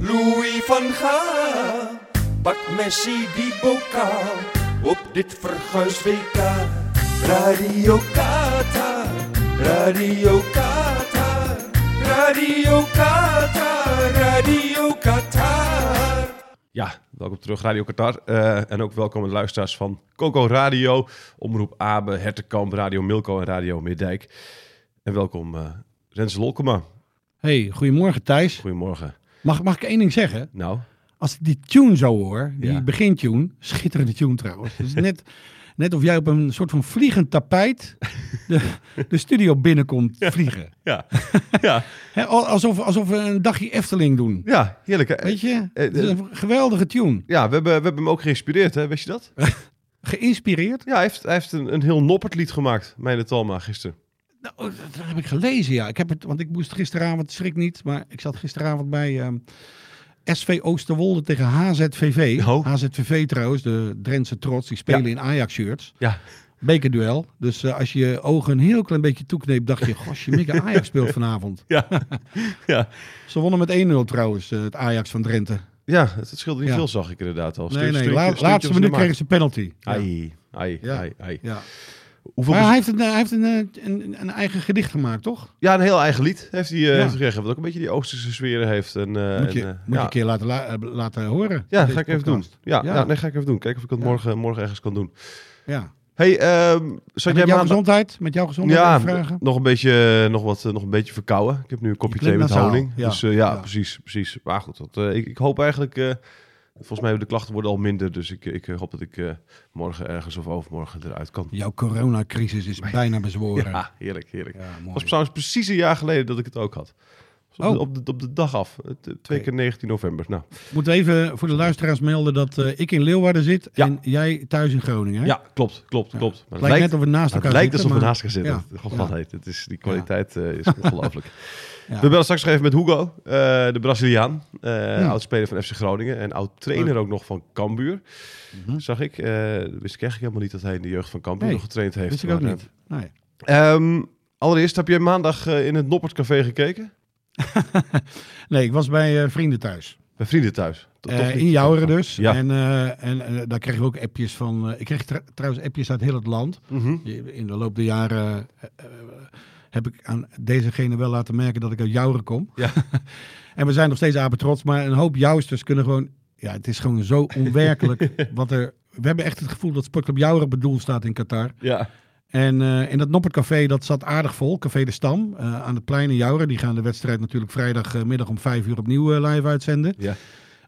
Louis van Gaal. Pak Messi die bokaal op dit verguis WK. Radio Qatar, Radio Qatar, Radio Qatar, Radio Qatar. Ja, welkom terug Radio Qatar. Eh, en ook welkom aan de luisteraars van Coco Radio, Omroep Abe, Hertekamp, Radio Milko en Radio Middijk. En welkom eh Rens Lolkema. Hey, goedemorgen Thijs. Goedemorgen. Mag, mag ik één ding zeggen? Nou, Als ik die tune zo hoor, die Ja. begintune, schitterende tune trouwens. Het is net, net of jij op een soort van vliegend tapijt de, de studio binnenkomt vliegen. ja, ja, Hè, al- alsof, alsof we een dagje Efteling doen. ja heerlijk. hè? Weet je? eh, Het is een geweldige tune. Ja, we hebben, we hebben hem ook geïnspireerd, hè? wist je dat? Geïnspireerd? Ja, hij heeft, hij heeft een, een heel noppert lied gemaakt, Meijne Talma, gisteren. Nou, dat heb ik gelezen, ja. Ik heb het, want ik moest gisteravond, schrik niet, maar ik zat gisteravond bij ehm, SV Oosterwolde tegen HZVV. Oh. HZVV trouwens, de Drentse trots, die spelen Ja. in Ajax-shirts. Ja, Bekerduel. Dus eh, als je je ogen een heel klein beetje toekneept, dacht je, gosh, je mikke Ajax speelt vanavond. ja, ja. Ze wonnen met 1-0 trouwens, eh, het Ajax van Drenthe. ja het, het scheelde niet Ja. veel, zag ik inderdaad al. Nee, nee, la- laatste minuut kregen ze een penalty. Ja. Ai, ai, Ja. ai, ai. Ja. Hoeveel Maar bezoek- hij heeft, een, hij heeft een, eh, een, een eigen gedicht gemaakt, toch? Ja, een heel eigen lied heeft hij eh, Ja. heeft hij gekregen. Wat ook een beetje die Oosterse sfeer heeft. En, eh, Moet je, en, eh, moet je ja. een keer laten, la- eh, laten horen. ja, Deze ga ik even doen. podcast. Ja, Ja. ja. nee, ga ik even doen. Kijken of ik dat Ja. morgen, morgen ergens kan doen. Ja. hey, ehm zat Met jij jouw maandag- gezondheid? Met jouw gezondheid Ja, even vragen? nog een beetje, nog wat, eh, nog een beetje verkouden. Ik heb nu een kopje klinkt thee met nasaal, honing. ja. Dus eh, ja, Ja. precies, precies. Maar goed, dat, eh, ik, ik hoop eigenlijk... eh, volgens mij de klachten worden al minder. Dus ik, ik eh, hoop dat ik eh, morgen ergens of overmorgen eruit kan. Jouw coronacrisis is bijna bezworen. Ja, heerlijk, heerlijk. Ja, mooi. Het was trouwens precies een jaar geleden dat ik het ook had. Dus op, Oh. de, op, de, op de dag af. Het- eh, Twee keer 19 november. Nou, Moeten we even voor de luisteraars melden dat eh, ik in Leeuwarden zit Ja. en jij thuis in Groningen. hè? ja, klopt, klopt, klopt. Maar Het lijkt net of we naast Het elkaar lijkt zitten, alsof we maar- naast gaan zitten. Ja. God, Ja. wat heet. Het is, die kwaliteit eh, is ongelooflijk. Ja. We bellen straks nog even met Hugo, eh, de Braziliaan. eh Ja. Oud-speler van FC Groningen en oud-trainer ook nog van Cambuur. Zag ik. Eh, wist ik eigenlijk helemaal niet dat hij in de jeugd van Cambuur Nee, nog getraind heeft. Wist ik ook Maar, niet. Nee. eh, ehm, allereerst, heb je maandag eh, in het Noppert Café gekeken? nee, ik was bij eh, vrienden thuis. Bij vrienden thuis? Toch- Eh, toch niet? in Jouweren dus. Ja. En, eh, en eh, daar kregen we ook appjes van. eh, ik kreeg tr- trouwens appjes uit heel het land. Mhm. In de loop der jaren eh, eh, heb ik aan dezegene wel laten merken dat ik uit Jouweren kom. Ja. en we zijn nog steeds apen trots. Maar een hoop Jouwsters kunnen gewoon... Ja, het is gewoon zo onwerkelijk wat er... We hebben echt het gevoel dat Sportclub Jouweren bedoeld staat in Qatar. Ja. En eh, in dat Noppertcafé, dat zat aardig vol. Café de Stam eh, aan het plein in Jouren. Die gaan de wedstrijd natuurlijk vrijdagmiddag om vijf uur opnieuw eh, live uitzenden. Ja.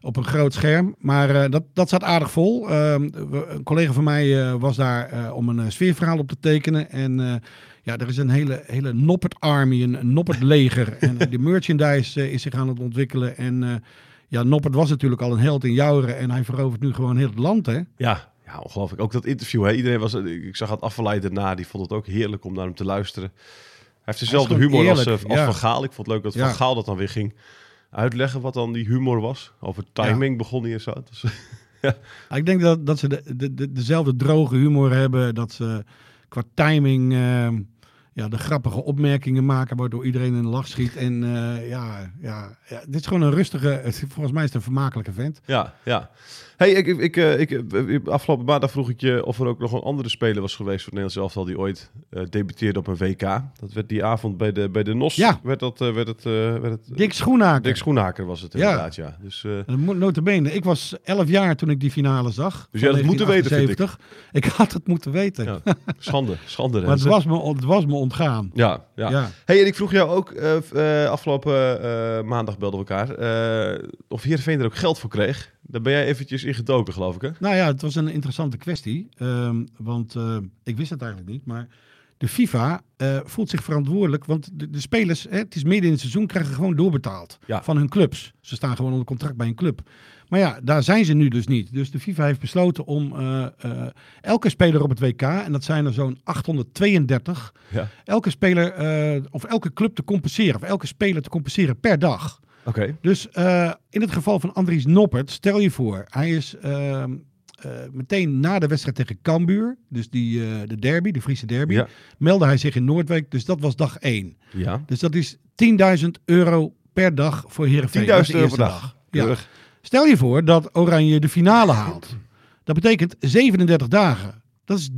Op een groot scherm. Maar eh, dat, dat zat aardig vol. Ehm, we- een collega van mij eh, was daar eh, om een eh, sfeerverhaal op te tekenen. En eh, ja, er is een hele, hele Noppert Army, een een Noppert leger. en eh, de merchandise eh, is zich aan het ontwikkelen. En eh, ja, Noppert was natuurlijk al een held in Jouren. En hij verovert nu gewoon heel het land, hè? Ja. Ja, ongelooflijk. Ook dat interview. Hè. Iedereen was, ik zag het afgeleid daarna. Die vond het ook heerlijk om naar hem te luisteren. Hij heeft dezelfde gewoon humor als, eerlijk, eh, als ja. Van Gaal. Ik vond het leuk dat Ja. Van Gaal dat dan weer ging uitleggen. Wat dan die humor was. Over timing begon hij en zo. Dus, Ja, Ah, Ik denk dat, dat ze de, de, de- dezelfde droge humor hebben. Dat ze qua timing ehm, ja, de grappige opmerkingen maken. Waardoor iedereen in de lach schiet. En eh, ja, ja, ja, dit is gewoon een rustige. het- Volgens mij is het een vermakelijke vent. ja, ja. Hey, ik, ik, ik, eh, ik, eh, afgelopen maandag vroeg ik je of er ook nog een andere speler was geweest voor het Nederlands elftal die ooit eh, debuteerde op een WK. Dat werd die avond bij de, bij de NOS. Ja. Werd dat, eh, werd het, eh, werd het, Dick Schoenaker. Dick Schoenhaker was het Ja. inderdaad, ja. Dus, eh, En mo- Notabene, ik was 11 jaar toen ik die finale zag. Dus je had het moeten weten, vind ik. 1978. ik. had het moeten weten. Ja, schande, schande. maar het Renze. was, me, on- het was me ontgaan. Ja, ja. Ja. Hey, en ik vroeg jou ook, eh, v- eh, afgelopen eh, maandag belden we elkaar, eh, of Heerenveen er ook geld voor kreeg. Daar ben jij eventjes in gedoken, geloof ik, hè? Nou ja, het was een interessante kwestie. ehm, want eh, ik wist het eigenlijk niet. Maar de FIFA eh, voelt zich verantwoordelijk, want de, de spelers, hè, het is midden in het seizoen, krijgen gewoon doorbetaald Ja. van hun clubs. Ze staan gewoon onder contract bij een club. Maar ja, daar zijn ze nu dus niet. Dus de FIFA heeft besloten om eh, eh, elke speler op het WK, en dat zijn er zo'n 832, Ja. elke speler eh, of elke club te compenseren, of elke speler te compenseren per dag. Oké. Dus eh, in het geval van Andries Noppert, stel je voor, hij is ehm, eh, meteen na de wedstrijd tegen Cambuur, dus die, eh, de derby, de Friese derby, Ja. meldde hij zich in Noordwijk. Dus dat was dag 1. Ja. Dus dat is 10.000 euro per dag voor Heerenveen. 10.000 Dat is de euro per eerste dag. Ja. Keurig. Stel je voor dat Oranje de finale haalt. Dat betekent 37 dagen. Dat is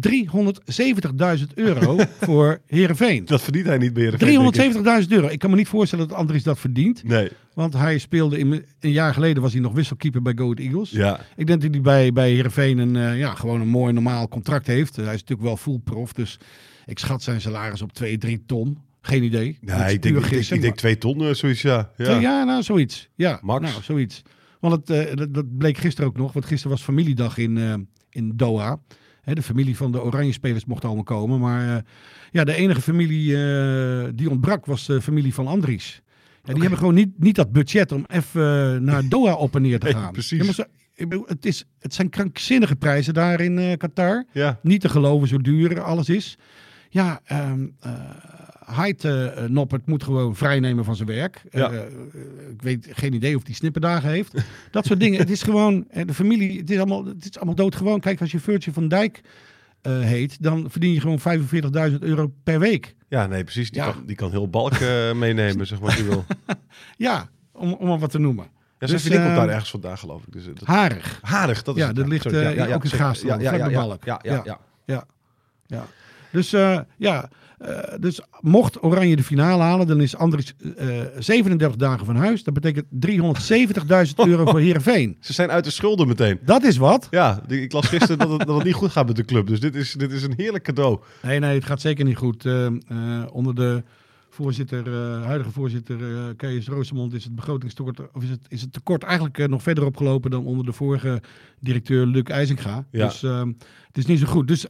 370.000 euro voor Heerenveen. Dat verdient hij niet meer. denk ik. 370.000 euro. Ik kan me niet voorstellen dat Andries dat verdient. Nee. Want hij speelde in, een jaar geleden was hij nog wisselkeeper bij Go Ahead Eagles. Ja. Ik denk dat hij bij, bij Heerenveen een, eh, ja, gewoon een mooi normaal contract heeft. Eh, hij is natuurlijk wel full prof, dus ik schat zijn salaris op 2, 3 ton. Geen idee. Nee, Dat is ik denk, puur ik, denk, gissen, ik denk twee ton, eh, zoiets, ja. maar- Ja. ja, nou, zoiets. Ja, Max. Nou, zoiets. Want het, eh, dat, dat bleek gisteren ook nog, want gisteren was familiedag in, eh, in Doha. Hè, de familie van de Oranje-spelers mocht allemaal komen. Maar eh, ja, de enige familie eh, die ontbrak was de familie van Andries. Ja, die hebben gewoon niet, niet dat budget om even eh, naar Doha op en neer te Nee, gaan. precies. Ja, maar zo- ik bedoel, het, is, het zijn krankzinnige prijzen daar in eh, Qatar. Ja. Niet te geloven zo duur alles is. Ja, ehm eh, Haidt, eh, eh, Noppert moet gewoon vrijnemen van zijn werk. Ja. Eh, eh, ik weet geen idee of hij snipperdagen heeft. Dat soort dingen. Het is gewoon, eh, de familie, het is allemaal, het is allemaal doodgewoon. Kijk, als je Virtue van Dijk eh, heet, dan verdien je gewoon 45.000 euro per week. Ja, nee, precies. Die, Ja. kan, die kan heel balk eh, meenemen, zeg maar, als je wil. Ja, om, om maar wat te noemen. Ja, zijn Dus, vriendin komt eh, daar ergens vandaan, geloof ik. Dus, eh, dat... Harig. Harig, dat is Ja, het, dat ligt, Sorry, eh, ook in zeker. Gaasland, ja, ja, vlak bij ja, Balk. ja, ja, Ja. ja. Ja. ja. Dus eh, ja, eh, dus mocht Oranje de finale halen, dan is Andries eh, 37 dagen van huis. Dat betekent 370.000 euro voor Heerenveen. Ze zijn uit de schulden meteen. Dat is wat. Ja, die- ik las gisteren dat het, dat het niet goed gaat met de club. Dus dit is, dit is een heerlijk cadeau. Nee, nee, het gaat zeker niet goed. Eh, eh, onder de voorzitter, eh, huidige voorzitter eh Kees Roosemond is het begrotingstekort, of is het, is het tekort eigenlijk eh, nog verder opgelopen dan onder de vorige directeur Luc IJzinga. Ja. Dus ehm, het is niet zo goed. Dus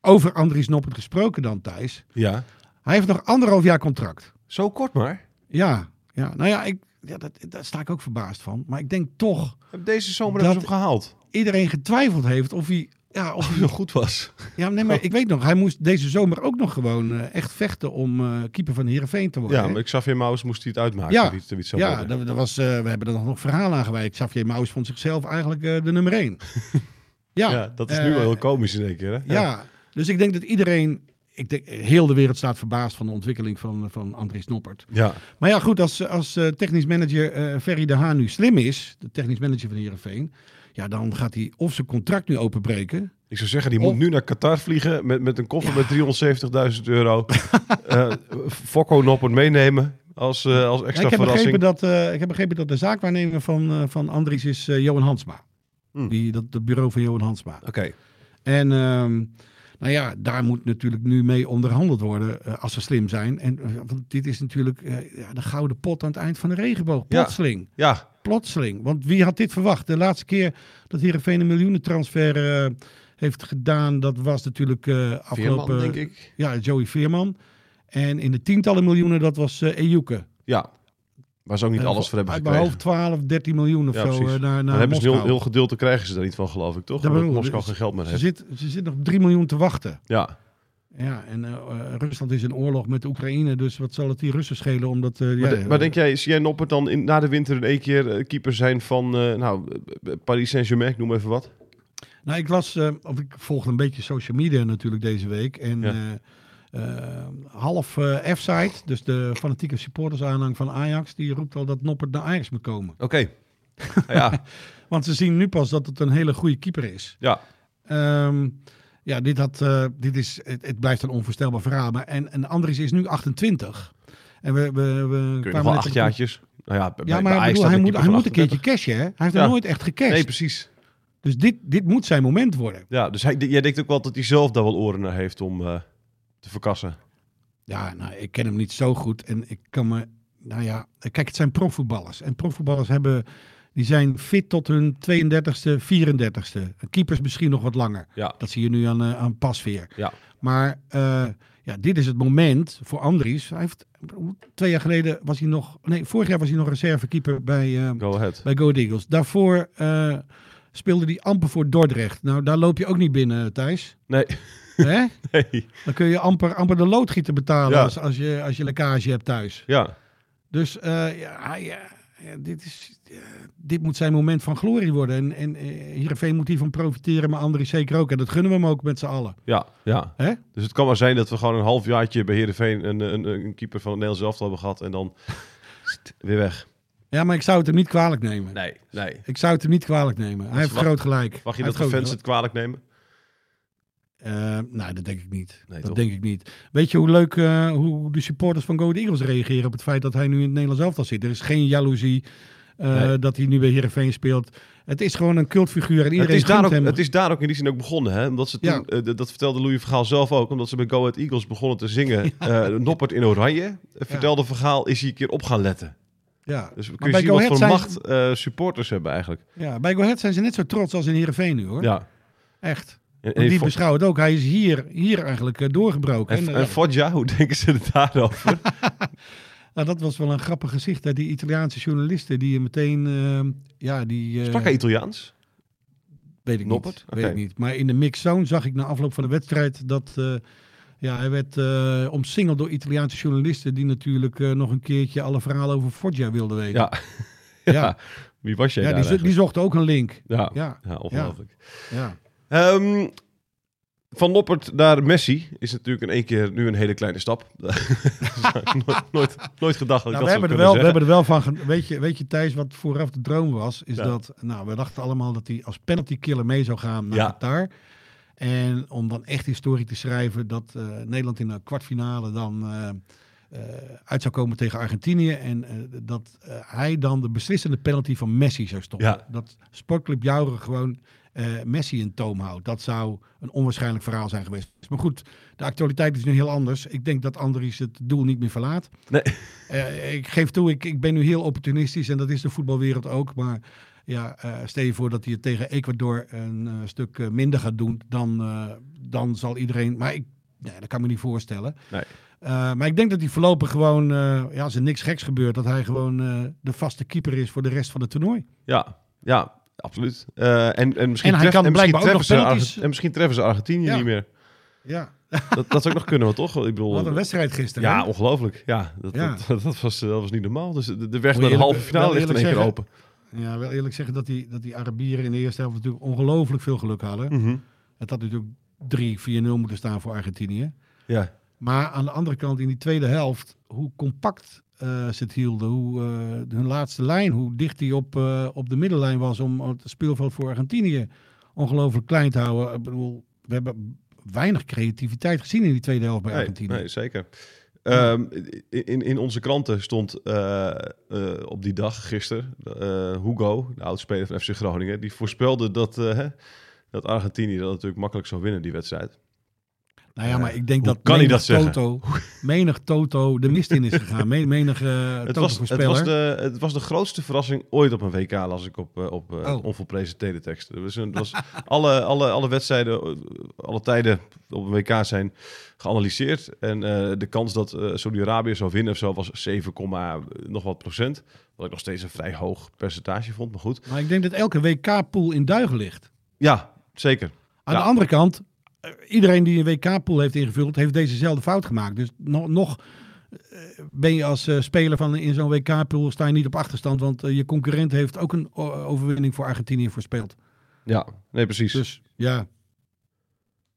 over Andries Noppert gesproken dan, Thijs. Ja. Hij heeft nog anderhalf jaar contract. Zo kort maar. Ja, ja. nou ja, ik, ja dat, daar sta ik ook verbaasd van. Maar ik denk toch Heb deze zomer Dat- hebben ze hem gehaald. iedereen getwijfeld heeft of hij... Ja, of, Of hij nog goed was. ja nee, maar ik weet nog, hij moest deze zomer ook nog gewoon eh, echt vechten om eh, keeper van Heerenveen te worden. Ja, hè? maar Xavier Maus moest hij het uitmaken. Ja. dat hij het- dat hij het zou ja worden. dat, dat was, eh, we hebben er nog nog verhaal aan gewijd. Xavier Maus vond zichzelf eigenlijk eh, de nummer één. ja, Ja, dat is eh, nu wel heel komisch in één keer. Hè? Ja. dus ik denk dat iedereen... Ik denk, heel de wereld staat verbaasd van de ontwikkeling van, van Andries Noppert. Ja. Maar ja, goed, als, als eh, technisch manager eh Ferry de Haan nu slim is, de technisch manager van Heerenveen, ja, dan gaat hij of zijn contract nu openbreken. Ik zou zeggen, die Of- moet nu naar Qatar vliegen met, met een koffer met 370.000 euro. Eh Fokko Noppert meenemen als, eh, als Ja, extra ik, heb begrepen verrassing. dat, eh, ik heb begrepen dat de zaakwaarnemer van, eh, van Andries is eh, Johan Hansma. Hmm. Die, dat, dat bureau van Johan Hansma. Oké, En ehm, nou ja, daar moet natuurlijk nu mee onderhandeld worden eh, als ze slim zijn. En, eh, want dit is natuurlijk eh, ja, de gouden pot aan het eind van de regenboog. Ja. Plotseling. ja. plotseling. Want wie had dit verwacht? De laatste keer dat Heerenveen een miljoenentransfer eh, heeft gedaan, dat was natuurlijk eh afgelopen... Veerman, denk ik. Ja, Joey Veerman. En in de tientallen miljoenen, dat was eh Ejuke. Ja. Waar ze ook niet Eh, alles voor hebben Uit mijn gekregen. hoofd 12, 13 miljoen of Ja, zo precies. eh, naar, Maar naar hebben ze heel, Moskou. heel geduld, dan krijgen ze daar niet van, geloof ik, toch? Dat Omdat bedoel ik. Moskou geen geld meer Ze heeft. zit, ze zit nog 3 miljoen te wachten. Ja, Ja, en eh, eh, Rusland is in oorlog met Oekraïne, dus wat zal het die Russen schelen? Omdat, eh, maar, ja, de- maar denk jij, zie jij Noppert dan in, na de winter in één keer eh, keeper zijn van eh, nou, eh, Paris Saint-Germain, ik noem even wat? Nou, ik las, eh, of ik volgde een beetje social media natuurlijk deze week. En Ja. eh, eh, half eh, F-site, dus de fanatieke supportersaanhang van Ajax, die roept al dat Noppert naar Ajax moet komen. Oké. ja, Want ze zien nu pas dat het een hele goede keeper is. ja. Ehm, ja, dit, had, eh, dit is, het, het blijft een onvoorstelbaar verhaal. Maar en, en Andries is nu 28. En we, we, we Kun je nog kwamen wel net acht op- jaartjes? Nou ja, bij- Ja, bij maar ik Ajax bedoel, staat hij, moet, keeper hij van moet een keertje cashen, hè? Hij heeft Ja. nog nooit echt 38. gecashed. Nee, precies. dus dit, dit moet zijn moment worden. Ja, dus hij, jij denkt ook wel dat hij zelf daar wel oren naar heeft om eh, te verkassen. Ja, nou, ik ken hem niet zo goed. En ik kan me. Nou ja, kijk, het zijn profvoetballers. En profvoetballers hebben. Die zijn fit tot hun 32e, 34e. Keepers misschien nog wat langer. Ja. Dat zie je nu aan, eh, aan Pasveer. Ja. Maar eh, Ja, dit is het moment voor Andries. Hij heeft, twee jaar geleden was hij nog... Nee, vorig jaar was hij nog reservekeeper bij, eh, Go ahead. bij Go Ahead Eagles. Daarvoor eh, speelde hij amper voor Dordrecht. Nou, daar loop je ook niet binnen, eh, Thijs. Nee, Hè? nee. Dan kun je amper, amper de loodgieter betalen Ja. als, als, je, als je lekkage hebt thuis. Ja, Dus eh, ja, ja, ja, dit, is, eh, dit moet zijn moment van glorie worden. En, en eh, Heerenveen moet hiervan profiteren, maar Andries zeker ook. En dat gunnen we hem ook met z'n allen. ja, ja. Hè? Dus het kan maar zijn dat we gewoon een halfjaartje bij Heerenveen een, een, een keeper van het Nederlands elftal hebben gehad en dan weer weg. Ja, maar ik zou het hem niet kwalijk nemen. Nee, nee. Ik zou het hem niet kwalijk nemen. Hij heeft mag- groot gelijk. Mag je dat Hij heeft de groot fans het kwalijk nemen? Eh, nou, dat denk ik niet. Nee, dat toch? denk ik niet. Weet je hoe leuk eh, hoe de supporters van Go Ahead Eagles reageren op het feit dat hij nu in het Nederlands elftal zit? Er is geen jaloezie eh, Nee. dat hij nu bij Heerenveen speelt. Het is gewoon een cultfiguur en Het iedereen is, daar gunt ook, hem. het is daar ook in die zin ook begonnen. Hè? Omdat ze toen, Ja. eh, d- dat vertelde Louis Vergaal zelf ook. Omdat ze bij Go Ahead Eagles begonnen te zingen. eh, Noppert in oranje. eh, Vertelde Vergaal, is hij een keer op gaan letten. ja. Dus we kunnen Maar bij zien wat Go voor Ahead zijn- macht eh, supporters hebben eigenlijk. ja, bij Go Ahead zijn ze net zo trots als in Heerenveen nu hoor. Ja. Echt. En, En en, die Fo- beschouwen het ook. Hij is hier, hier eigenlijk eh, doorgebroken. en, En, en eh, Foggia, hoe denken ze er daarover? nou, dat was wel een grappig gezicht. Hè? Die Italiaanse journalisten die je meteen... eh, ja, die, eh, Sprak hij Italiaans? Weet ik Noppert? niet. Weet Oké. ik niet. Maar in de mixzone zag ik na afloop van de wedstrijd dat eh, ja, hij werd eh, omsingeld door Italiaanse journalisten die natuurlijk eh, nog een keertje alle verhalen over Foggia wilden weten. Ja. ja. Ja. Wie was jij Ja, daar die, zo- die eigenlijk? zochten ook een link. Ja. Ja. Ja, ongelooflijk. ja. Ehm, van Noppert naar Messi is natuurlijk in één keer nu een hele kleine stap. Dat zou ik nooit, nooit, nooit gedacht dat Nou, ik dat zou we, hebben er kunnen wel, we zeggen. hebben er wel van... ge- Weet je, weet je Thijs, wat vooraf de droom was? Is Ja. dat, nou, we dachten allemaal dat hij als penalty killer mee zou gaan naar Ja. Qatar. En om dan echt historie te schrijven dat eh, Nederland in de kwartfinale dan eh, eh, uit zou komen tegen Argentinië. En eh, dat eh, hij dan de beslissende penalty van Messi zou stoppen. Ja. Dat Sportclub Jouren gewoon eh, Messi in toom houdt. Dat zou een onwaarschijnlijk verhaal zijn geweest. Maar goed, de actualiteit is nu heel anders. Ik denk dat Andries het doel niet meer verlaat. Nee. Eh, ik geef toe, ik, ik ben nu heel opportunistisch en dat is de voetbalwereld ook. Maar ja, eh, stel je voor dat hij het tegen Ecuador een eh, stuk eh, minder gaat doen, dan, eh, dan zal iedereen. Maar ik, nee, dat kan ik me niet voorstellen. Nee. Eh, maar ik denk dat hij voorlopig gewoon, eh, ja, als er niks geks gebeurt, dat hij gewoon eh, de vaste keeper is voor de rest van het toernooi. Ja, ja absoluut. Eh, en, en misschien En treffen- hij kan en misschien blijkbaar ook treffen nog ze penalties. Argent- En misschien treffen ze Argentinië Ja. niet meer. Ja, Dat, dat zou ook nog kunnen, wel, toch? Ik bedoel, wat een wedstrijd gisteren. Ja, hè? ongelooflijk. Ja, dat, Ja. Dat, dat, was, dat was niet normaal. Dus de, de weg Moet naar de eerlijk- halve finale wel ligt in één eerlijk keer open. ja, wel eerlijk zeggen dat die, dat die Arabieren in de eerste helft natuurlijk ongelooflijk veel geluk hadden. Mhm. Het had natuurlijk 3-4-0 moeten staan voor Argentinië. Ja, Maar aan de andere kant, in die tweede helft, hoe compact eh, ze het hielden. Hoe, eh, hun laatste lijn, hoe dicht die op, eh, op de middenlijn was om het speelveld voor Argentinië ongelooflijk klein te houden. Ik bedoel, we hebben weinig creativiteit gezien in die tweede helft bij nee, Argentinië. nee, zeker. Ehm, in, in onze kranten stond eh, eh, op die dag, gisteren, eh, Hugo, de oudspeler van FC Groningen, die voorspelde dat, eh, hè, dat Argentinië dat natuurlijk makkelijk zou winnen, die wedstrijd. Nou ja, maar ik denk Hoe dat kan hij menig dat zeggen? Toto, menig Toto de mist in is gegaan. Me- Menig eh Het was, het, was Toto-voorspeller. de, het was de grootste verrassing ooit op een WK, las ik op, eh, op eh, Oh. onvolprezen teletext. Er was een- was alle, alle, alle wedstrijden, eh, alle tijden op een WK zijn geanalyseerd. En eh, de kans dat eh, Saudi-Arabië zou winnen of zo was 7, nog wat procent. Wat ik nog steeds een vrij hoog percentage vond, maar goed. Maar ik denk dat elke WK-pool in duigen ligt. Ja, zeker. Aan Ja. de andere kant, eh, iedereen die een WK-pool heeft ingevuld, heeft dezezelfde fout gemaakt. Dus nog, nog eh, ben je als eh, speler van in zo'n WK-pool sta je niet op achterstand, want eh, je concurrent heeft ook een o- overwinning voor Argentinië voorspeld. Ja, nee, precies. Dus ja.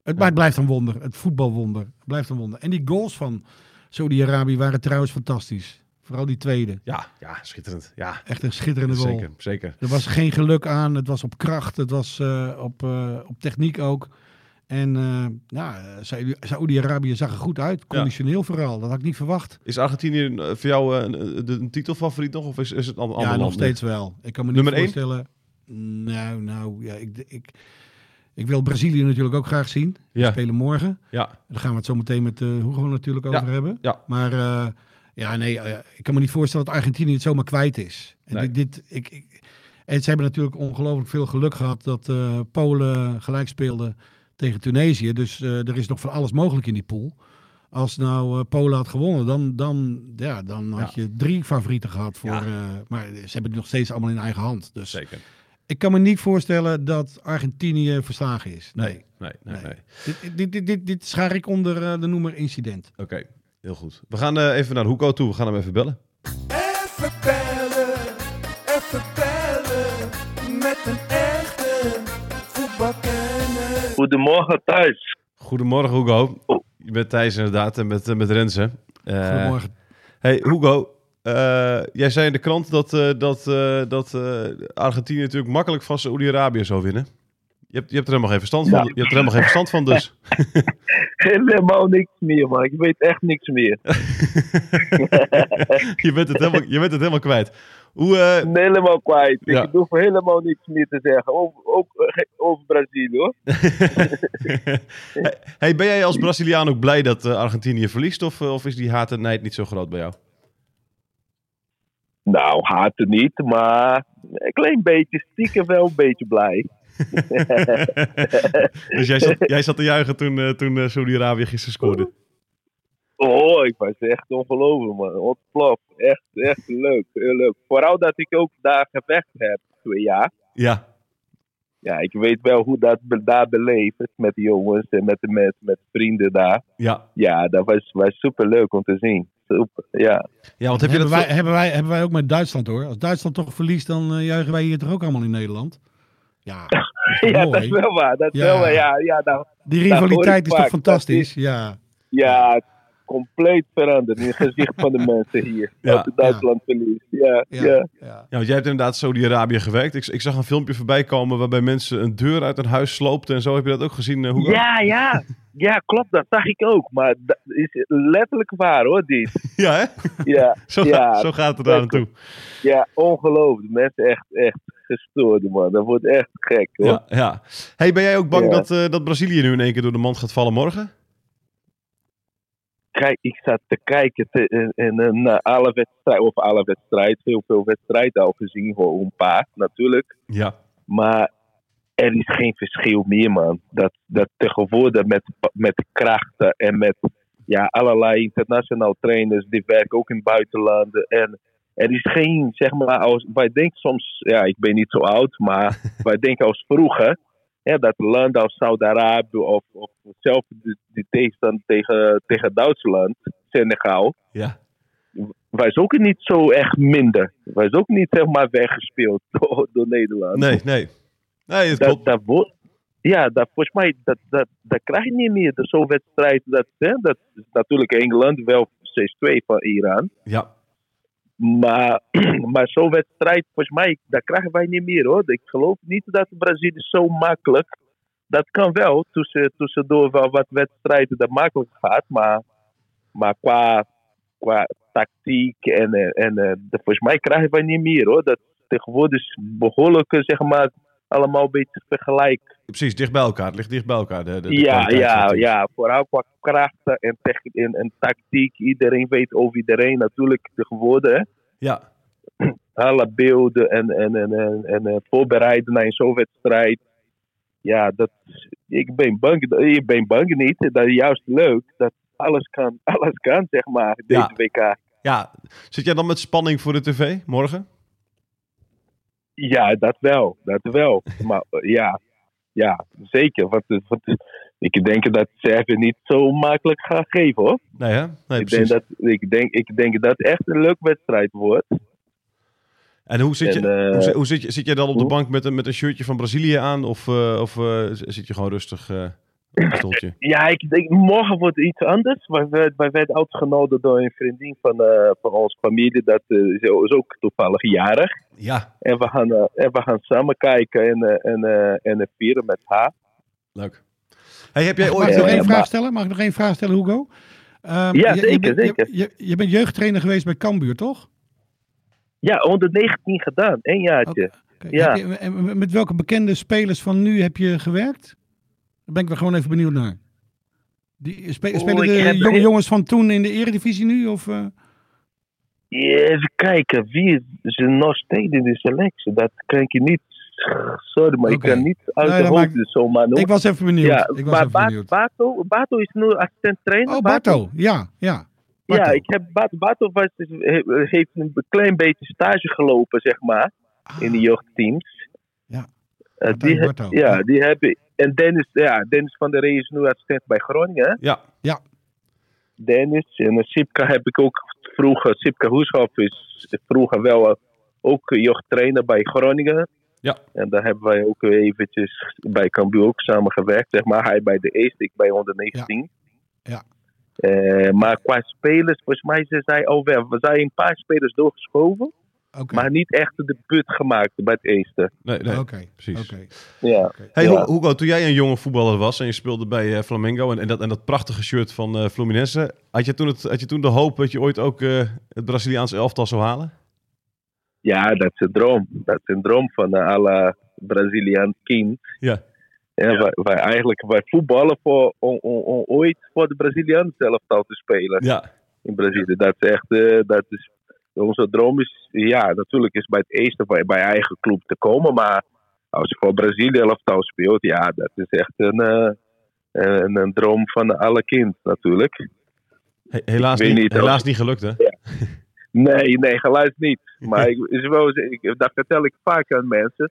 Het, maar het blijft een wonder. Het voetbalwonder. Het blijft een wonder. En die goals van Saudi-Arabië waren trouwens fantastisch. Vooral die tweede. ja, ja, schitterend. Ja, Echt een schitterende goal. zeker, zeker. Er was geen geluk aan. Het was op kracht. Het was eh, op, eh, op techniek ook. En eh ja, Saudi- Saoedi-Arabië zag er goed uit. Conditioneel vooral. Dat had ik niet verwacht. Is Argentinië eh, voor jou eh, een, een titelfavoriet nog? Of is, is het een ander ja, land nog nu? steeds wel. Ik kan me niet Nummer één? voorstellen. Nou, nou, ja, ik, ik, ik wil Brazilië natuurlijk ook graag zien. Die Ja, Spelen morgen. ja, Daar gaan we het zo meteen met eh Hugo natuurlijk Ja, over hebben. ja. Maar eh, ja, nee, eh, ik kan me niet voorstellen dat Argentinië het zomaar kwijt is. En, Nee. dit, dit- ik, ik- en ze hebben natuurlijk ongelooflijk veel geluk gehad dat eh, Polen gelijk speelde tegen Tunesië. Dus eh, er is nog van alles mogelijk in die pool. Als nou eh, Polen had gewonnen, dan, dan, ja, dan had je drie favorieten gehad. Voor, Ja. eh, maar ze hebben het nog steeds allemaal in eigen hand. Dus Zeker. ik kan me niet voorstellen dat Argentinië verslagen is. Nee. Nee, nee, nee. Nee. Dit, dit, dit, dit, dit schaar ik onder eh, de noemer incident. Oké, heel goed. We gaan eh, even naar Hoeko toe. We gaan hem even bellen. Even bellen, even bellen met een echte voetbalkenner. Goedemorgen thuis. Goedemorgen, Hugo. Je bent Thijs inderdaad en met, eh, met Renze. Eh, Goedemorgen. Hey, Hugo. eh, jij zei in de krant dat, eh, dat, eh, dat eh, Argentinië natuurlijk makkelijk van Saoedi-Arabië zou winnen. Je hebt, je hebt er helemaal geen verstand van. Ja. Je hebt er helemaal geen verstand van, dus. Helemaal niks meer, man. Ik weet echt niks meer. je, bent het helemaal, je bent het helemaal kwijt. Hoe, eh, Ik ben helemaal kwijt. Ja. Ik hoef helemaal niks meer te zeggen. Ook, ook eh, ge- over Brazilië, hoor. hey, ben jij als Braziliaan ook blij dat eh, Argentinië verliest? Of, eh, of is die haat en nijd niet zo groot bij jou? Nou, haat het niet, maar een klein beetje, stiekem wel een beetje blij. dus jij zat, jij zat te juichen toen, eh, toen eh, Saoedi-Arabië gisteren scoorde. Oh, ik was echt ongelooflijk, man. Ontplof. Echt, echt leuk. Heel leuk. Vooral dat ik ook daar gevecht heb, twee jaar. Ja, Ja, ik weet wel hoe dat be- daar beleefd is met de jongens en met, de met, met vrienden daar. ja. Ja, dat was, was super leuk om te zien. Super, ja. Ja, want heb je dat... hebben, wij, hebben, wij, hebben wij ook met Duitsland hoor. Als Duitsland toch verliest, dan eh, juichen wij hier toch ook allemaal in Nederland. Ja, dat is toch Ja, mooi? dat is wel waar. Dat is Ja. wel waar. Ja, ja, nou, Die dat hoor rivaliteit ik is toch vaak. fantastisch? Ja. ja compleet veranderd in het gezicht van de mensen hier. Ja, Als het Duitsland verliest. Ja, ja. Ja, ja. Ja, want jij hebt inderdaad Saudi-Arabië gewerkt. Ik, ik zag een filmpje voorbij komen waarbij mensen een deur uit hun huis sloopten en zo. Heb je dat ook gezien? eh, Hugo? Ja, ja. Ja, klopt. Dat zag ik ook. Maar dat is letterlijk waar, hoor, dit. Ja, hè? Ja, Zo, Ja, zo gaat het daar dat naartoe. ja ongelooflijk. Mensen echt, echt gestoord, man. Dat wordt echt gek, hoor. Ja, ja. Hey, ben jij ook bang Ja. dat, eh, dat Brazilië nu in één keer door de mand gaat vallen morgen? kijk, ik zat te kijken te, en, en, eh, naar alle wedstrijden, of alle wedstrijden, heel veel wedstrijden al gezien, gewoon een paar natuurlijk. Ja. Maar er is geen verschil meer, man. Dat, dat tegenwoordig met, met krachten en met ja, allerlei internationaal trainers die werken ook in buitenlanden. En er is geen, zeg maar, als, wij denken soms, ja, ik ben niet zo oud, maar wij denken als vroeger. Ja, dat landen als Saudi-Arabië of, of zelfs de, de tegenstand tegen, tegen Duitsland, Senegal, Ja. was ook niet zo echt minder. Was ook niet, zeg maar, weggespeeld door, door Nederland Nee, nee. Nee, het dat, klopt. dat wordt. Ja, dat, volgens mij, dat, dat, dat krijg je niet meer. Dat Zo'n wedstrijd, dat, hè, dat is natuurlijk Engeland wel 6-2 van Iran. Ja. Maar, maar zo'n wedstrijd, volgens mij, dat krijgen wij niet meer hoor. Ik geloof niet dat Brazilië zo makkelijk. Dat kan wel, tussen, tussendoor wel wat wedstrijden dat makkelijk gaat. Maar, maar qua, qua tactiek en, eh, en eh, dat- volgens mij krijgen wij niet meer hoor. Dat tegenwoordig is behoorlijk, eh, zeg maar, allemaal een beetje tegelijk Precies, dicht bij elkaar. Het ligt dicht bij elkaar. De, de, de ja, kwaliteit van het ja, team. ja. Vooral qua krachten en, tech- en, en tactiek. Iedereen weet over iedereen natuurlijk tegenwoordig. hè. Ja, Alle beelden en, en, en, en, en eh, voorbereiden naar zo'n wedstrijd. Ja, dat, ik, ben bang, ik ben bang niet. Dat is juist leuk. Dat alles kan, alles kan zeg maar, deze Ja. WK. ja. Zit jij dan met spanning voor de tv morgen? Ja, dat wel. Dat wel. Maar eh, ja, ja zeker. Want, eh, want, eh, ik denk dat Servië niet zo makkelijk gaat geven hoor. Nee, hè? Nee, ik, denk precies. dat, ik, denk, ik denk dat echt een leuk wedstrijd wordt. En hoe zit je... En, eh, Hoe, zit, hoe zit je, zit jij dan op de hoe? bank met een, met een shirtje van Brazilië aan? Of, eh, of eh, z- zit je gewoon rustig eh, op een stoeltje? ja, ik denk morgen wordt iets anders. Wij, werd- wij werden uitgenodigd door een vriendin van, eh van onze familie. Dat eh, is is ook toevallig jarig. Ja, En we gaan, eh, en we gaan samen kijken en, eh, en, eh, en het vieren met haar. leuk. Hey, heb jij Mag ooit... ik nog Ja, één vraag maar- stellen? Mag ik nog één vraag stellen, Hugo? Ehm, Ja, je- je zeker, bent- je- zeker. Je, je bent jeugdtrainer geweest bij Cambuur, toch? Ja, onder 19 gedaan. één jaartje. Oké, Ja. heb je- en met welke bekende spelers van nu heb je gewerkt? Daar ben ik wel gewoon even benieuwd naar. Die, eh, spe- Oeh, spelen ik de heb- jonge jongens van toen in de eredivisie nu? Of, eh? Ja, Even kijken, wie is er nog steeds in de selectie? Dat kan ik je niet sorry, maar Oké. ik kan niet uit Nee, de dat hoofd maakt- dus zomaar noemen. Ik was even benieuwd. ja, ik was maar even Ba- benieuwd. Bato, Bato is nu assistent trainer. Oh, Barto. Ja, ja. Ja, Bartel. ik heb Bato, Bato was, dus- he- heeft een klein beetje stage gelopen, zeg maar, in Ah, eh, de jeugdteams. Ja. Eh, Martijn die, he- Bartel, ja, ja. die heb ik. En Dennis, ja, Dennis van der Rey is nu assistent bij Groningen. hè? Ja, Dennis en eh, Sipka heb ik ook vroeger. Sipka Hoeshoff is vroeger wel eh, ook jeugdtrainer bij Groningen. Ja. En daar hebben wij ook eventjes bij Cambuur ook samen gewerkt. Zeg maar. Hij bij de eerste, ik bij onder 19. Ja. Eh, maar qua spelers, volgens mij zijn zij al weg. We zijn een paar spelers doorgeschoven, Ah, Oké. maar niet echt de put gemaakt bij het eerste. nee, nee, Oké. precies. Oké. Ja. Hey, Ja. Hu- Hugo, toen jij een jonge voetballer was en je speelde bij eh, Flamengo en, en, dat, en dat prachtige shirt van eh, Fluminense, had je, toen het, had je toen de hoop dat je ooit ook eh, het Braziliaans elftal zou halen? Ja, dat is een droom. Dat is een droom van een à la Braziliaan kind. Ja. Ja, Wij, wij eigenlijk wij voetballen voor, om, om, om ooit voor de Braziliaan zelftal te spelen Ja, in Brazilië. Dat is echt, eh, dat is, onze droom is, ja, natuurlijk is bij het eerste bij, bij eigen club te komen. Maar als je voor Brazilië elftal speelt, ja, dat is echt een, eh, een, een droom van alle kind natuurlijk. He- helaas, Ik weet niet, niet, hoor. helaas niet gelukt hè? Nee, nee, geluid niet. Maar ik, is wel, ik, dat vertel ik vaak aan mensen.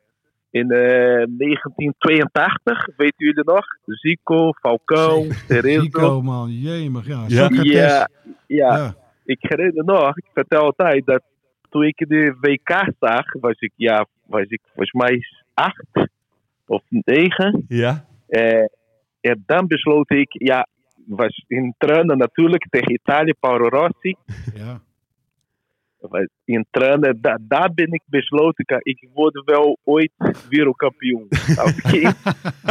In eh, 1982, weten jullie nog? Zico, Falcao, Terezo. Nico, man. Jemig. Ja. Ja. Socrates. Ja, ja, Ja. ik herinner nog, ik vertel altijd dat toen ik de WK zag, was ik, ja, was ik volgens mij acht of negen. Ja, Eh, en dan besloot ik, ja, was in tranen natuurlijk tegen Italië, Paolo Rossi. ja. was in tranen. Da- daar ben ik besloten, ka- ik word wel ooit wereldkampioen. Als kind,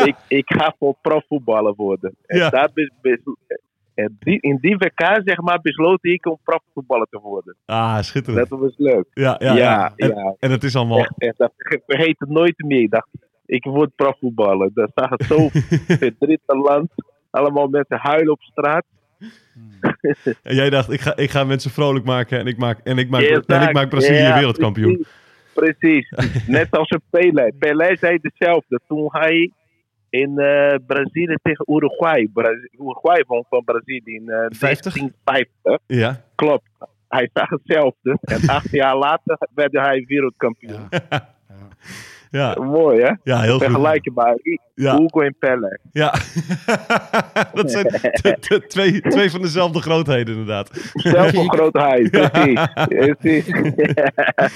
ik, ik ga voor profvoetballer worden. En, Ja. daar bes- bes- en die, in die WK zeg maar, besloot ik om profvoetballer te worden. ah, schitterend. Dat was leuk. Ja, ja, Ja, ja, En, oh. en het is allemaal... echt, echt, dat verge- vergeet het nooit meer. Ik dacht, ik word profvoetballer. Daar zag het zo verdrietig land. Allemaal mensen huilen op straat. En jij dacht, ik ga, ik ga mensen vrolijk maken en ik maak, en ik maak, Ja, en ik exact. maak Brazilië Ja, wereldkampioen. Precies. Precies. Net als een Pelé. Pelé zei hetzelfde. Toen hij in eh, Brazilië tegen Uruguay. Bra- Uruguay won van Brazilië in eh, 50? 1950. Ja, Klopt. Hij zag hetzelfde. En acht jaar later werd hij wereldkampioen. ja, Mooi hè? ja, heel goed. Vergelijkbaar. Ja, Hugo en Pelé. ja. dat zijn t- t- twee, twee van dezelfde grootheden inderdaad. Zelf een groot hij. Precies. Precies.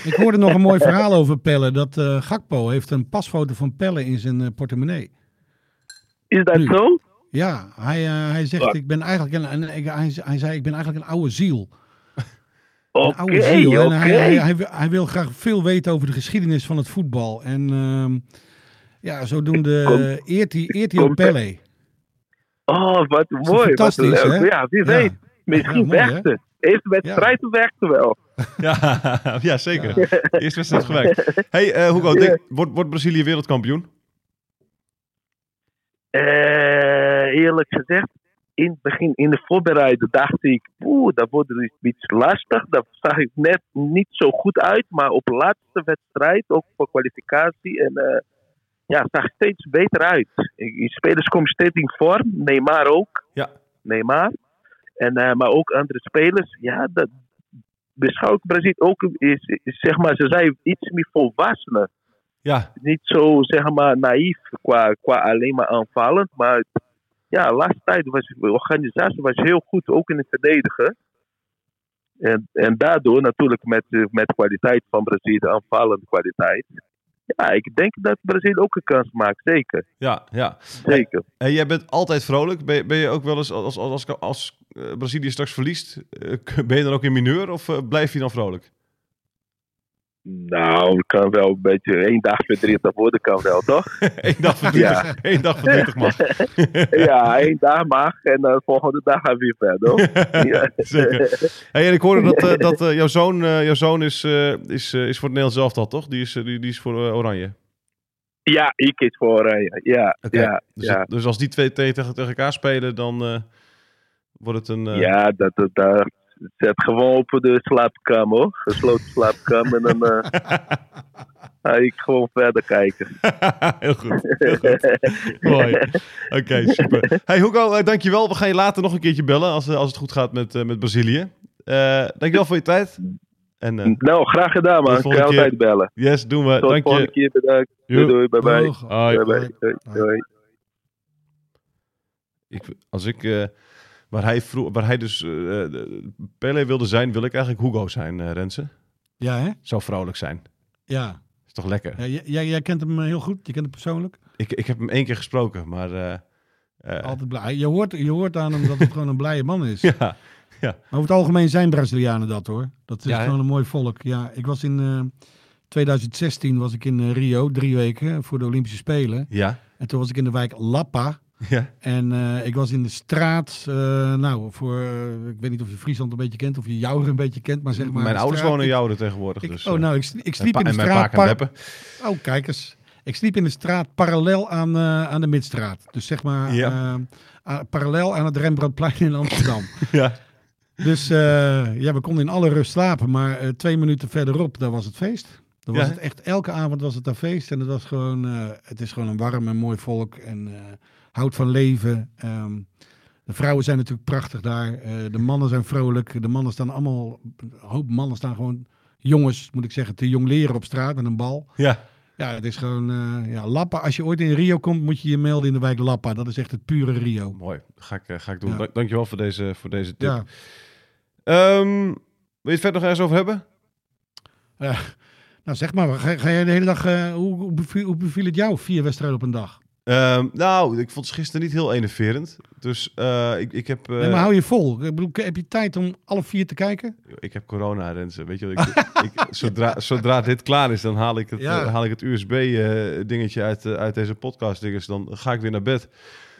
Ik hoorde nog een mooi verhaal over Pelle. Dat eh, Gakpo heeft een pasfoto van Pelle in zijn eh, portemonnee. Is dat Nu. zo? Ja, hij, eh, hij zegt, ik ben eigenlijk een, een- ik- hij, hij zei, ik ben eigenlijk een oude ziel. Een Oké, oude ziel. oké. En hij, hij, hij wil- hij wil graag veel weten over de geschiedenis van het voetbal. En ehm, ja, zodoende eh, eert hij, eert hij ook Komt- Pelle. Oh, wat is mooi. Wat fantastisch, leuk. hè? Ja, Ja. wie weet. Misschien Ja, mooi, hè? werkt het. Eerste wedstrijd werkt het wel. Ja, ja zeker. Eerst wedstrijd gewerkt. hey, eh, Hugo, denk, wordt, wordt Brazilië wereldkampioen? Eh, eerlijk gezegd, in het begin, in de voorbereiding, dacht ik, oeh, dat wordt dus iets lastig. Dat zag ik net niet zo goed uit. Maar op de laatste wedstrijd, ook voor kwalificatie, en, eh, ja, het zag steeds beter uit. Ik- Die spelers komen steeds in vorm. Neymar ook. Ja. Neymar. En, eh, maar ook andere spelers. Ja, dat beschouw ik Brazil ook, is, is, zeg maar, ze zijn iets meer volwassenen Ja, niet zo zeg maar naïef qua, qua alleen maar aanvallend. Maar ja, de laatste tijd was de organisatie was heel goed, ook in het verdedigen. En, en daardoor natuurlijk met, eh, met kwaliteit van Brazilië, aanvallende kwaliteit. Ja, ik denk dat Brazilië ook een kans maakt, zeker. ja, ja. zeker. En jij bent altijd vrolijk. Ben, je- ben je ook wel eens, als, als, als, als eh, Brazilië straks verliest, eh, k- ben je dan ook in mineur of eh, blijf je dan vrolijk? Nou, het kan wel een beetje één dag verdrietig worden, kan wel, toch? Eén dag verdrietig, één dag verdrietig mag. ja, één dag mag en de volgende dag gaan we weer verder. Ja. Zeker. Hey, en ik hoorde dat, eh, dat eh, jouw zoon, eh, jouw zoon is, eh, is, eh, is voor het Nederlands elftal, toch? Die is, eh, die, die is voor eh, Oranje. Ja, ik kies voor Oranje. Ja, Oké. ja, Dus, ja. dus als die twee te- tegen, tegen elkaar spelen, dan eh, wordt het een... eh, Ja, dat, dat, dat zet gewoon op de slaapkamer hoor. Gesloten slaapkamer. En dan, eh, ga ik gewoon verder kijken. heel goed. Heel goed. Mooi. Oké, super. Hey Hugo, eh, dankjewel. We gaan je later nog een keertje bellen als, eh, als het goed gaat met, eh, met Brazilië. Eh dankjewel voor je tijd. En eh, Nou, graag gedaan, Tot man. de Ik kan volgende altijd bellen. yes, doen we. Tot de Dank volgende je. keer. Bedankt. Doei, Joep. doei. Bye bye. Doeg. Hoi. Bye bye. Doei, doei. Ik, als ik, eh, waar, hij vroeg, waar hij dus eh, de- Pele wilde zijn, wil ik eigenlijk Hugo zijn, eh Rensen. Ja, hè? Zou vrolijk zijn. Ja. Is toch lekker? Ja, j- jij, jij kent hem eh, heel goed. Je kent hem persoonlijk. Ik, ik heb hem één keer gesproken, maar... eh, eh, Altijd blij. Je hoort, je hoort aan hem dat het gewoon een blije man is. ja. Maar over het algemeen zijn Brazilianen dat hoor. Dat is Ja, hè? gewoon een mooi volk. Ja, ik was in eh, 2016 was ik in eh, Rio, drie weken voor de Olympische Spelen. Ja. En toen was ik in de wijk Lapa. Ja. En eh, ik was in de straat, eh, nou, voor, eh, ik weet niet of je Friesland een beetje kent, of je Jouwer een beetje kent, maar zeg maar. Mijn de ouders straat- wonen in ik- Jouwen tegenwoordig. ik- dus, oh, eh, nou, ik, sli- ik en sliep pa- in de en mijn straat. pa kan par- rappen. Oh, kijk eens. Ik sliep in de straat parallel aan, eh, aan de Midstraat. Dus zeg maar Ja. eh, aan- parallel aan het Rembrandtplein in Amsterdam. Ja. dus eh, ja, we konden in alle rust slapen. Maar eh, twee minuten verderop, daar was het feest. Dan was Ja. het echt, elke avond was het daar feest. En het, was gewoon, eh, het is gewoon een warm en mooi volk. En eh, houdt van leven. Ehm, de vrouwen zijn natuurlijk prachtig daar. Eh, de mannen zijn vrolijk. De mannen staan allemaal... Een hoop mannen staan gewoon... Jongens, moet ik zeggen, te jong leren op straat met een bal. Ja. Ja, het is gewoon eh, ja, Lappa. Als je ooit in Rio komt, moet je je melden in de wijk Lappa. Dat is echt het pure Rio. Mooi. Ga ik, eh, ga ik doen. Ja. Dank- Dankjewel voor deze, voor deze tip. Ja. Ehm, wil je het verder nog ergens over hebben? Nou, zeg maar, ga, ga jij de hele dag... eh, hoe, hoe, beviel, hoe beviel het jou, vier wedstrijden op een dag? Ehm, nou, ik vond het gisteren niet heel enerverend. Dus eh, ik, ik heb... eh, Nee, maar hou je vol. Ik bedoel, heb je tijd om alle vier te kijken? Ik heb corona, Rensen. Weet je wat ik, ik, zodra, zodra dit klaar is, dan haal ik het, Ja. eh, haal ik het USB-dingetje uit, eh, uit deze podcast. Dus dan ga ik weer naar bed,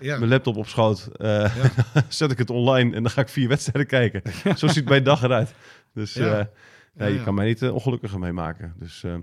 Ja. mijn laptop op schoot, eh, zet ik het online en dan ga ik vier wedstrijden kijken. Zo ziet mijn dag eruit. Dus Ja. eh, Ja, nee, je ja. kan mij niet eh, ongelukkiger mee maken. Dus eh,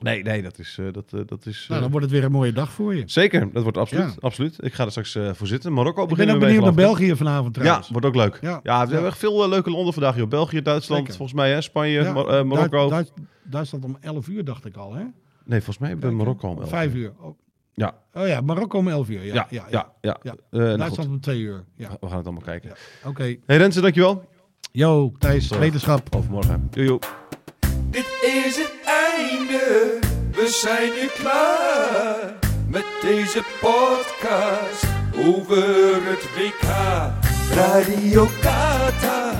nee, nee, dat is... eh, dat, eh, dat is Nou, eh, dan wordt het weer een mooie dag voor je. Zeker, dat wordt absoluut. Ja. absoluut. Ik ga er straks eh, voor zitten. Marokko Ik ben beginnen ook we mee, benieuwd naar geloof ik. België vanavond trouwens. Ja, wordt ook leuk. Ja, Ja. we hebben echt veel eh, leuke landen vandaag. Joh. België, Duitsland, Zeker. volgens mij, hè? Spanje, Ja, Mar- eh, Marokko. Duits- Duits- Duitsland om 11 uur, dacht ik al, hè? Nee, volgens mij hebben we Marokko om elf Vijf uur. uur. Oh. Ja. Oh ja, Marokko om 11 uur. Ja, Ja, ja, ja. Ja. Eh, nou Duitsland om twee uur. Ja, goed, we gaan het allemaal kijken. ja. oké. Hey Rensen, dankjewel. Yo, Thijs, wetenschap. Overmorgen. Joe, joe. Dit is het einde, we zijn nu klaar met deze podcast over het WK. Radio Qatar,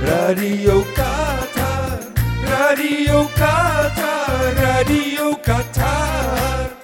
Radio Qatar, Radio Qatar, Radio Qatar.